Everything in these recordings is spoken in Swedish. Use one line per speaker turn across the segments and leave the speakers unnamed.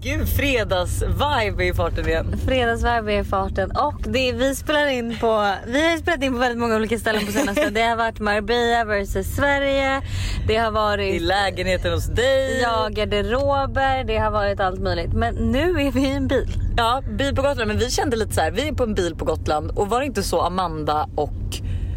gud, fredagsvibe är i farten igen.
Fredagsvibe är i farten och det är, vi spelar in på, vi har spelat in på väldigt många olika ställen på senaste. Det har varit Marbella versus Sverige. Det har
I
varit
lägenheten hos dig.
ja, garderober. Det har varit allt möjligt. Men nu är vi i en bil.
Ja, bil på Gotland. Men vi kände lite så här, vi är på en bil på Gotland och var det inte så Amanda och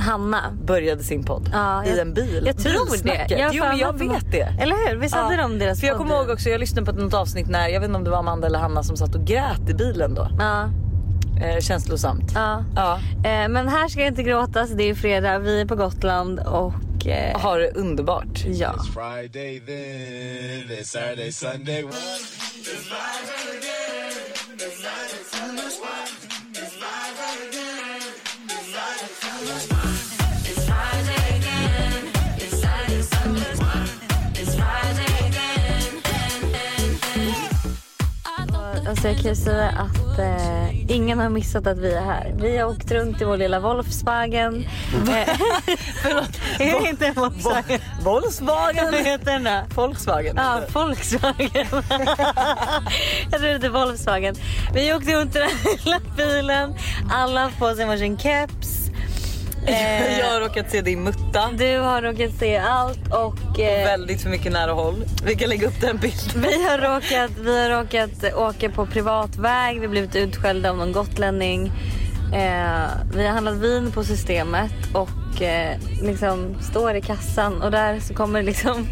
Hanna.
började sin podd
Ja,
i
jag-
en bil.
Jag tror det.
Bilsnacket.
har
jo, men
för mig
jag
att de-
vet det.
Eller hur? Visst hade
Ja.
de deras
För jag
podd
kommer
i-
ihåg också, jag lyssnade på något avsnitt när, jag vet inte om det var Amanda eller Hanna som satt och grät i bilen då.
Ja,
Eh, känslosamt.
ja.
Ja,
Eh, men här ska det inte gråtas. Det är fredag. Vi är på Gotland och eh,
har det underbart.
ja.
It's Friday then, it's Saturday, Sunday.
Alltså jag kan ju säga att eh, ingen har missat att vi är här. Vi har åkt runt i vår lilla Wolfswagen. Eh, är det inte en Volkswagen?
Volkswagen heter
den där?
Volkswagen.
Ja, Volkswagen. jag tror det är Volkswagen. Vi åkte runt i den här lilla bilen. Alla har på sig varsin keps. Eh,
Jag har råkat se din mutta.
Du har råkat se allt och... eh,
Väldigt för mycket nära håll. Vi kan lägga upp den bilden.
Vi har, råkat, vi har råkat åka på privat väg, vi har blivit utskällda av någon gotlänning. Eh, vi har handlat vin på systemet och eh, liksom står i kassan och där så kommer liksom...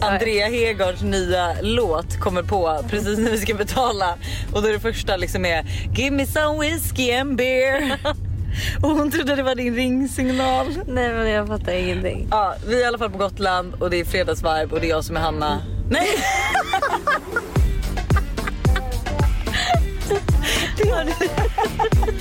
Andrea Hegards nya låt kommer på precis när vi ska betala. Och då är det första liksom är Give me some whiskey and beer. Och hon trodde det var din ringsignal.
Nej men jag fattar ingenting.
Ja, vi är i alla fall på Gotland och det är fredagsvibe och det är jag som är Hanna. Nej! det har du.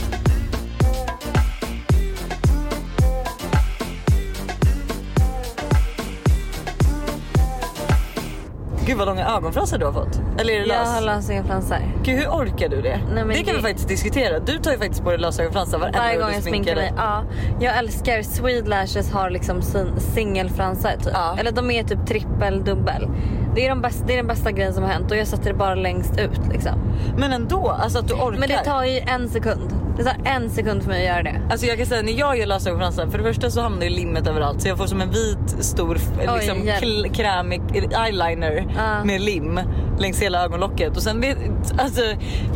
Gud vad långa ögonfransar du har fått. Eller är det
Jag har
lös?
lösögonfransar.
Gud, hur orkar du det?
men
det kan vi
det-
faktiskt diskutera. Du tar ju faktiskt på dig lösögonfransar varenda
Varje
gång
gång
du
jag sminkar mig. Ja, jag älskar Swede Lashes har liksom sin singelfransar typ.
Ja.
Eller de är typ trippel, dubbel. Det är, de bästa, det är den bästa grejen som har hänt och jag sätter det bara längst ut liksom.
Men ändå, alltså att du orkar.
Men det tar ju en sekund. Det tar en sekund för mig att göra det.
Alltså jag kan säga när jag gör lösögonfransar, för det första så hamnar ju limmet överallt så jag får som en vit stor f-
Oj,
liksom,
hjälp.
kl- krämig eyeliner
Ah.
med lim längs hela ögonlocket. Och sen det, alltså,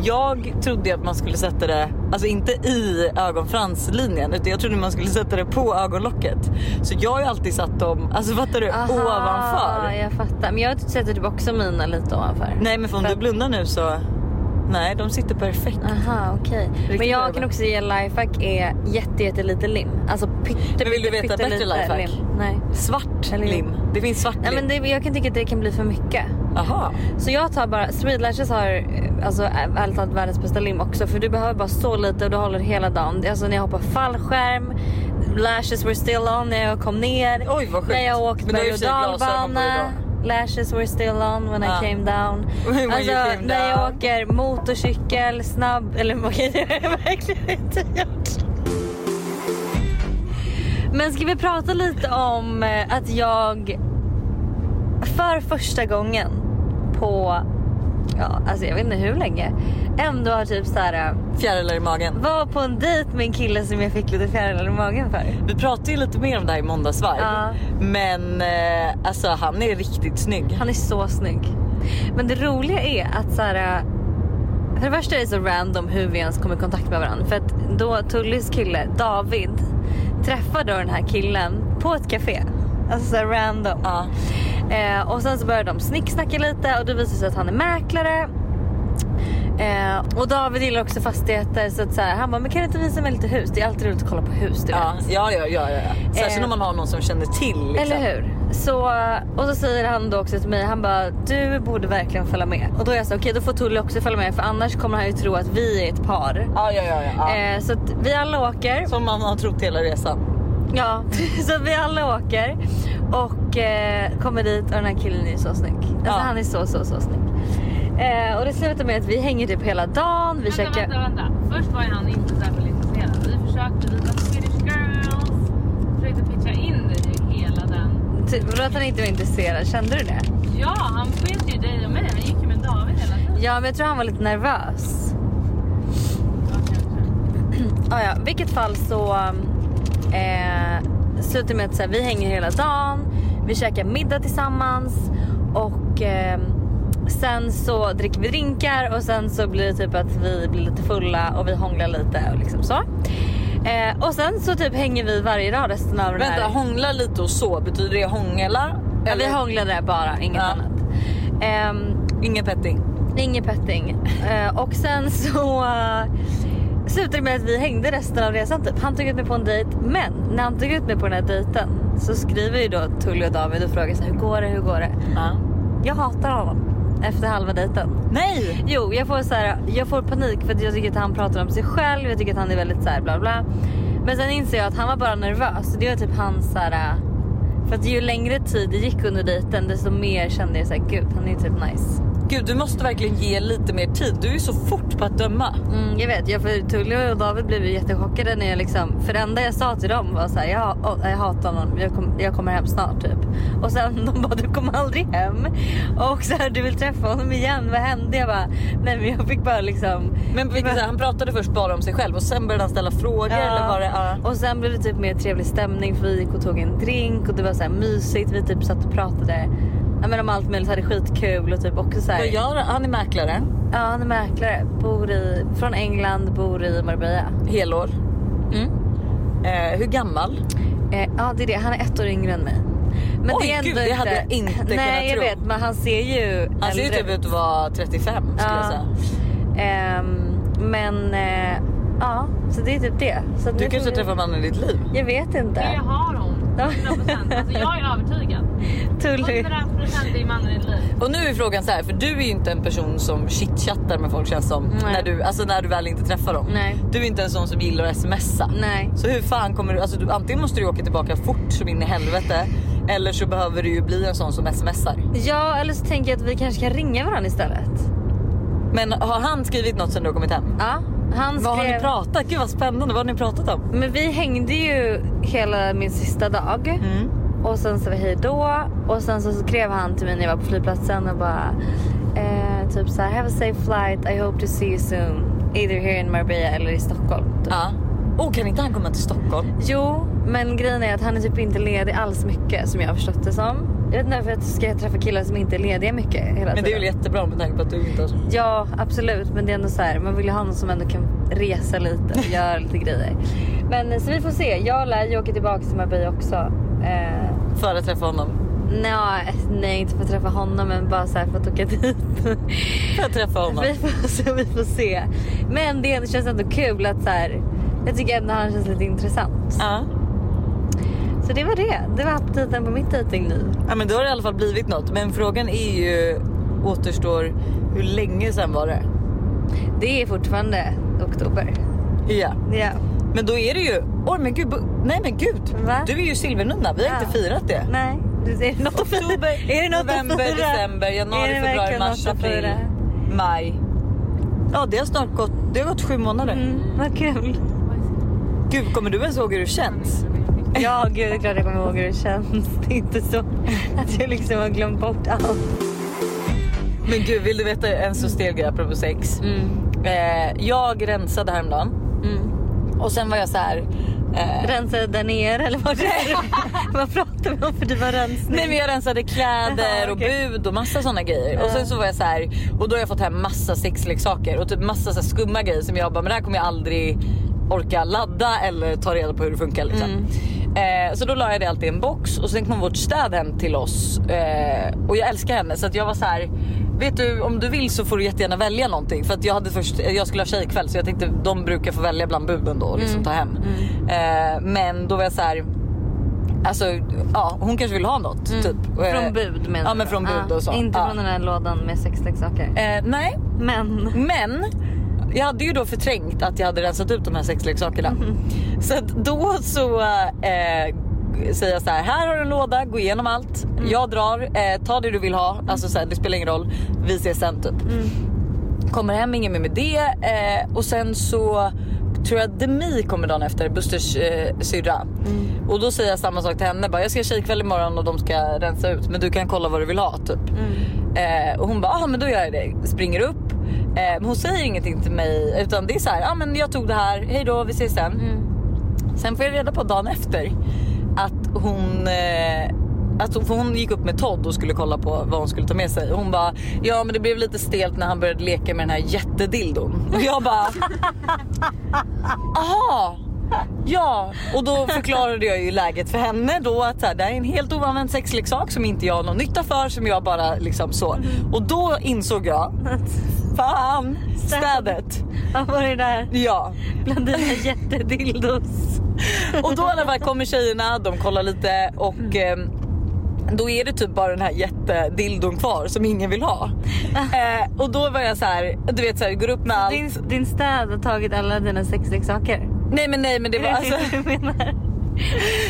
jag trodde ju att man skulle sätta det, alltså inte i ögonfranslinjen utan jag trodde man skulle sätta det på ögonlocket. Så jag har ju alltid satt dem, alltså fattar du,
Aha,
ovanför.
Jag fattar. Men jag sätter typ också mina lite ovanför.
Nej men för om
För Ah.
du
att-
blundar nu så, nej de sitter perfekt.
Aha, okej. Men jag
ögon.
kan också ge lifehack är jätte, jätte lite lim. Alltså pytte,
Men vill du
pytte,
veta
pytte
bättre
lite
lifehack?
lim. Nej.
Svart
Eller-
lim, det finns svart
Nej
lim.
men det, jag kan tycka att det kan bli för mycket.
Aha.
Så jag tar bara, Swede Lashes har eh, alltså eh, ärligt talat världens bästa lim också för du behöver bara så lite och du håller hela dagen. Alltså när jag hoppar fallskärm, lashes were still on när jag kom ner.
Oj, vad sjukt.
När jag åkte
Men du har
berg
ju i
och
och för sig glasögon på dig
dalbana. Lashes were still on when
Ja.
I came down.
When you
alltså
came down.
när jag åker motorcykel, snabb... Eller okej det har jag verkligen inte gjort. Men ska vi prata lite om eh, att jag för första gången på, ja alltså jag vet inte hur länge, ändå har typ så här eh,
Fjärilar i magen.
var på en dejt med en kille som jag fick lite fjärilar i magen för.
Vi pratade ju lite mer om det här i måndagsvarv.
Ja.
Men eh, alltså han är riktigt snygg.
Han är så snygg. Men det roliga är att så här. eh, För det första är det så random hur vi ens kommer i kontakt med varandra. För att då Tullys kille, David, träffar då den här killen på ett café. Alltså så här random.
Ja.
Eh, och sen så börjar de snicksnacka lite och då visar det sig att han är mäklare. Eh, och David gillar också fastigheter så att så här, han bara, men kan du inte visa mig lite hus? Det är alltid roligt att kolla på hus du
Ja,
vet.
ja, ja, ja, ja. Särskilt
Eh.
om man har någon som känner till. Liksom.
Eller hur? Så, och så säger han då också till mig, han bara du borde verkligen följa med. Och då är jag så okej då får Tully också följa med för annars kommer han ju tro att vi är ett par.
Ja, ja, ja. ja.
Eh, så att vi alla åker.
Som man har trott hela resan.
Ja, så att vi alla åker och eh, kommer dit och den här killen är så snygg. Alltså
Ja.
han är så så så snygg. Eh, och det slutar med att vi hänger typ hela dagen, vi
vänta,
käkar...
vänta, vänta. Först var ju han inte särskilt intresserad. Vi försökte, vi var Swedish girls. Försökte pitcha in dig i hela den.
Typ, vadå att han inte var intresserad, kände du det?
Ja, han bet ju dig och mig. Han gick ju med David hela tiden.
Ja, men jag tror han var lite nervös.
Ja, kanske.
Ah, ja. vilket fall så eh, slutar det med att så här, vi hänger hela dagen, vi käkar middag tillsammans och eh, sen så dricker vi drinkar och sen så blir det typ att vi blir lite fulla och vi hånglar lite och liksom så. Eh, och sen så typ hänger vi varje dag resten av den här...
Vänta, hångla lite och så. Betyder det hånglar?
ja, vi hånglade bara,
Ja.
inget annat. Ehm,
Ingen petting.
Inget petting. Eh, och sen så eh, slutade det med att vi hängde resten av resan typ. Han tog ut mig på en dejt men när han tog ut mig på den här dejten så skriver ju då Tully och David och frågar så här, hur går det, hur går det? Jag hatar honom efter halva dejten.
Nej!
Jo, jag får, så här, jag får panik för att jag tycker att han pratar om sig själv. Jag tycker att han är väldigt så här bla bla. Men sen inser jag att han var bara nervös. Så Det var typ hans så här... För att ju längre tid det gick under dejten desto mer kände jag så här, gud han är typ nice.
Gud, du måste verkligen ge lite mer tid. Du är ju så fort på att döma.
Mm, jag vet, jag, för Tully och David blev ju jättechockade när jag liksom, för det enda jag sa till dem var såhär, jag, åh, jag hatar honom, jag, kom, jag kommer hem snart typ. Och sen de bara, du kommer aldrig hem. Och så här, du vill träffa honom igen, vad hände? Jag bara, nej men jag fick bara liksom.
Men vilket, så här, han pratade först bara om sig själv och sen började han ställa frågor. Eller var det, ja.
Och sen blev det typ mer trevlig stämning för vi gick och tog en drink och det var såhär mysigt, vi typ satt och pratade. Ja men om allt möjligt, hade skitkul och typ också såhär.
Vad gör han? Han är mäklare.
Ja han är mäklare, bor i, från England, bor i Marbella.
Helår. Eh, hur gammal?
Eh, ja, det är det. Han är ett år yngre än mig. Men
Oj,
det är ändå
gud, det hade jag inte kunnat
Nej, jag
tro.
vet. Men han ser ju
Han ser ju
äldre
typ ut att vara 35 skulle jag säga.
Ehm, men eh, ja, så det är typ det. Så att
Du
nu
kanske
får vi-
träffar mannen i ditt liv.
Jag vet
Det
inte.
har hon. 100%. Alltså jag är övertygad.
Tully.
100% i mannen i ditt liv.
Och nu är frågan så här, för du är ju inte en person som chitchattar med folk känns som.
Nej.
När du, alltså när du väl inte träffar dem.
Nej.
Du är inte en sån som gillar att smsa.
Nej.
Så hur fan kommer du, alltså du, antingen måste du åka tillbaka fort som in i helvete. Eller så behöver du ju bli en sån som smsar.
Ja, eller så tänker jag att vi kanske kan ringa varandra istället.
Men har han skrivit något sen du har kommit hem?
Ja, han skrev...
Vad har ni pratat? Gud vad spännande, vad har ni pratat om?
Men vi hängde ju hela min sista dag. Och sen så var hej då. Och sen så skrev han till mig när jag var på flygplatsen och bara eh, typ så här have a safe flight. I hope to see you soon. Either here in Marbella eller i Stockholm. Typ.
Ja. Oh, kan inte han komma till Stockholm?
Jo, men grejen är att han är typ inte ledig alls mycket som jag har förstått det som. Jag vet inte varför jag ska träffa killar som inte är lediga mycket hela tiden.
Men det är väl jättebra med tanke på att du inte har så
Ja, absolut. Men det är ändå så här, man vill ju ha någon som ändå kan resa lite och göra lite grejer. Men eh, så vi får se. Jag lär ju åka tillbaka till Marbella också. Eh,
för att träffa honom.
nej, nej, inte för att träffa honom men bara så här för att åka dit.
För att träffa honom.
vi, får, så vi får se. Men det känns ändå kul att så här, jag tycker ändå han känns lite intressant.
Ja.
Så det var det. Det var aptiten på mitt dejting nu.
Ja men då har det i alla fall blivit något. Men frågan är ju återstår hur länge sen var det?
Det är fortfarande oktober.
Ja.
Ja.
Men då är det ju, åh men gud, bo- nej men gud.
Va?
Du är ju silvernunna, vi har
Ja.
inte firat det.
Nej. Det är något att fira.
Oktober,
Är det något att
november,
fira?
december,
Är
januari,
det
februari,
verkligen
mars,
något att
april,
fira?
maj. Ja det har snart gått, det har gått sju månader.
Mm, vad kul.
Gud kommer du ens ihåg hur det känns?
Ja, gud, det är klart jag kommer ihåg hur det känns. Det är inte så att jag liksom har glömt bort allt.
Men gud vill du veta en så stel grej apropå sex? Eh, jag rensade häromdagen och sen var jag så här. Eh,
Rensade där nere eller vad det är. Vad pratar vi om för det var rensning?
Nej men jag rensade kläder
Jaha,
och
okej.
bud och massa såna grejer. Och sen så var jag så här och då har jag fått hem massa sexleksaker och typ massa så här skumma grejer som jag bara men det här kommer jag aldrig orka ladda eller ta reda på hur det funkar liksom. Eh, så då la jag det alltid i en box och sen kom vårt städ hem till oss eh, och jag älskar henne så att jag var så här Vet du om du vill så får du jättegärna välja någonting för att jag hade först jag skulle ha tjejkväll så jag tänkte de brukar få välja bland buden då och liksom ta hem. Eh, men då var jag så här Alltså ja, hon kanske vill ha något. Typ. Eh,
Mm. Från bud menar
Ja
du?
men från bud
Ah,
och så.
Inte
ja.
från den här lådan med sexleksaker.
eh, Nej,
Men.
men jag hade ju då förträngt att jag hade rensat ut de här sexleksakerna. Så att då så eh, säger jag så här, här har du en låda, gå igenom allt. Jag drar, eh, ta det du vill ha. Alltså så här, det spelar ingen roll, vi ses sen typ. Kommer hem, ingen mer med det. Eh, och sen så tror jag Demi kommer dagen efter, Busters eh, syrra. Och då säger jag samma sak till henne. Bara, jag ska ha tjejkväll imorgon och de ska
Mm.
rensa ut. Men du kan kolla vad du vill ha typ. Eh, och hon bara, ah, men då gör jag det. Springer upp. Eh, men hon säger ingenting till mig utan det är så här, ja ah, men jag tog det här, hej då, vi ses sen.
Mm.
Sen får jag reda på dagen efter att hon eh, att hon, för hon gick upp med Todd och skulle kolla på vad hon skulle ta med sig. Hon bara, ja men det blev lite stelt när han började leka med den här jättedildon. Och jag bara, aha! Ja, och då förklarade jag ju läget för henne då att så här, det här är en helt oanvänd sexleksak som inte jag har någon nytta för som jag bara liksom så. Och då insåg jag, fan, städet.
Vad var det där?
Ja,
Bland dina jättedildos.
Och då i alla fall kommer tjejerna, de kollar lite och
Mm.
eh, då är det typ bara den här jättedildon kvar som ingen vill ha. Eh, och då var jag så här, du vet så här, går upp med allt.
Din, din städ har tagit alla dina sexleksaker.
Nej men nej men det var
Är det
alltså,
det du menar?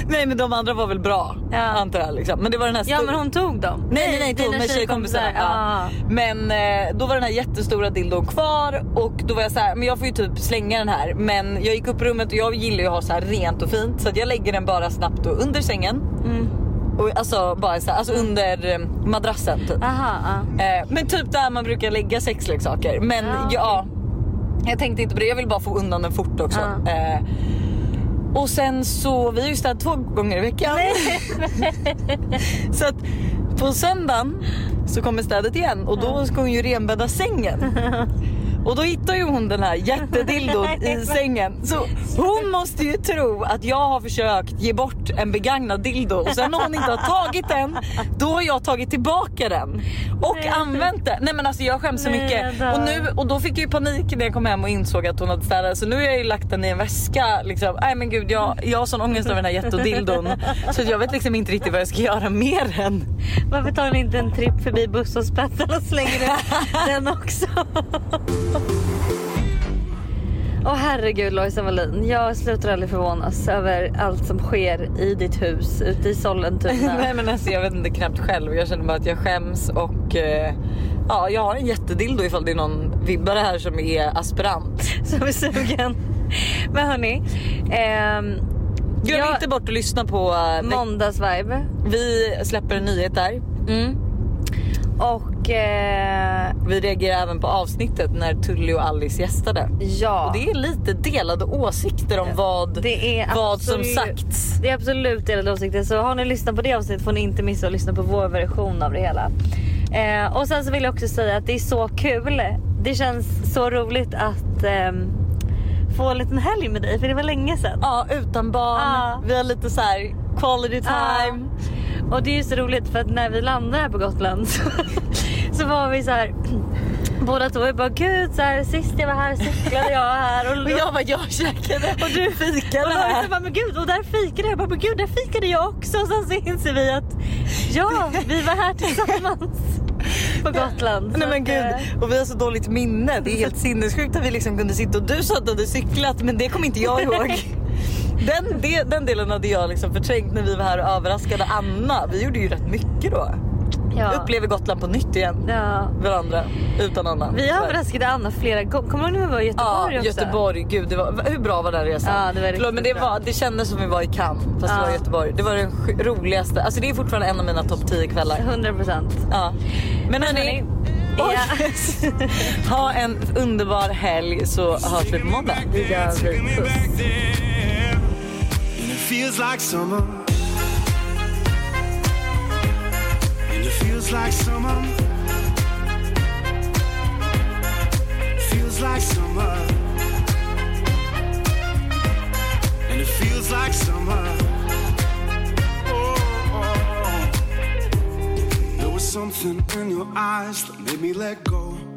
nej men de andra var väl bra
Ja.
antar jag liksom. Men det var den här
Ja
stor-
men hon tog dem.
Nej nej nej, tog
dina
med tjejkompisarna. Ja.
Ja.
Men eh, då var den här jättestora dildon kvar och då var jag så här, men jag får ju typ slänga den här. Men jag gick upp i rummet och jag gillar ju att ha så här rent och fint så att jag lägger den bara snabbt och under sängen.
Mm.
Och alltså bara så här, alltså under eh, madrassen typ.
Aha, ja.
Eh, men typ där man brukar lägga sexleksaker. Men
Ja,
ja,
okej.
jag tänkte inte på det. Jag vill bara få undan den fort också.
Ja.
Eh, och sen så, vi har ju städat två gånger i veckan. så att på söndagen så kommer städet igen och då ska hon ju renbädda sängen. Och då hittar ju hon den här jättedildon i sängen. Så hon måste ju tro att jag har försökt ge bort en begagnad dildo och sen när hon inte har tagit den, då har jag tagit tillbaka den och
Nej.
använt den. Nej men alltså jag skäms så
Nej,
mycket.
jag dör.
Och, nu, och då fick jag ju panik när jag kom hem och insåg att hon hade städat. Så nu har jag ju lagt den i en väska. Liksom. Nej men gud jag, jag har sån ångest över den här jättedildon så att jag vet liksom inte riktigt vad jag ska göra med den.
Varför tar ni inte en tripp förbi busshållplatsen och slänger ut den också? Åh herregud Lojsan Wallin, jag slutar aldrig förvånas över allt som sker i ditt hus ute i typ Sollentuna.
Nej men alltså jag vet inte knappt själv. Jag känner bara att jag skäms och eh, ja, jag har en jättedildo ifall det är någon vibbare här som är aspirant.
som är sugen. Men hörni, ehm,
Glöm
jag-
inte bort att lyssna på... eh, veck-
måndagsvibe.
vi släpper en nyhet där.
Mm. Och eh,
Vi reagerar även på avsnittet när Tully och Alice gästade.
ja.
Och det är lite delade åsikter om vad,
Det är
vad som
absolut-
sagts.
Det är absolut delade åsikter. Så har ni lyssnat på det avsnittet får ni inte missa att lyssna på vår version av det hela. Eh, och sen så vill jag också säga att det är så kul. Det känns så roligt att ehm, få en liten helg med dig för det var länge sedan.
Ja, utan barn.
Ja.
Vi har lite så här quality time.
Ah. Och det är ju så roligt för att när vi landade här på Gotland så, så var vi så här. Båda två vi bara gud så här, sist jag var här cyklade jag här och,
Och jag bara, jag käkade och du fikade
och då var
här.
vi bara, men gud, och där fikade jag. jag. bara, Men gud, där fikade jag också. Och sen så inser vi att ja, vi var här tillsammans på Gotland. Så
Nej men
att, eh,
gud, och vi har så dåligt minne. Det är
Mm.
helt sinnessjukt att vi liksom kunde sitta och du sa att du hade cyklat men det kommer inte jag ihåg. Den, de, den delen hade jag liksom förträngt när vi var här och överraskade Anna. Vi gjorde ju rätt mycket då.
ja.
Upplever Gotland på nytt igen.
Ja.
Varandra utan Anna.
Vi
Tyvärr.
överraskade Anna flera gånger. Kommer du ihåg när vi var i
Ja,
Göteborg också?
Göteborg. Gud, det var, hur bra var den resan?
Ja, det var riktigt
Förlåt, men det,
bra.
var, det kändes som vi var i Cannes fast det
Ja.
var i Göteborg. Det var den sj- roligaste. Alltså det är fortfarande en av mina topp 10 kvällar.
100 procent.
Ja. Men hörni,
Ja.
ha en underbar helg så hörs vi på måndag.
Back
Vi
there,
gör
taking me
puss.
back there. And it feels like summer. And it feels like summer. Feels like summer. And it feels like summer. Oh, oh, oh. There was something in your eyes that made me let go.